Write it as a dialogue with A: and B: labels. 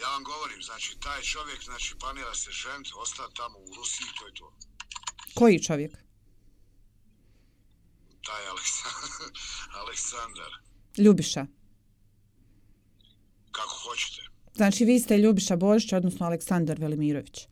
A: Ja vam govorim, znači, taj čovjek, znači, planira se ženiti, ostati tamo u Rusiji, to je to.
B: Koji čovjek?
A: Taj Aleksandar, Aleksandar
B: Ljubiša.
A: kako hoćete.
B: Znači, vi ste Ljubiša Božić, odnosno Aleksandar Velimirović.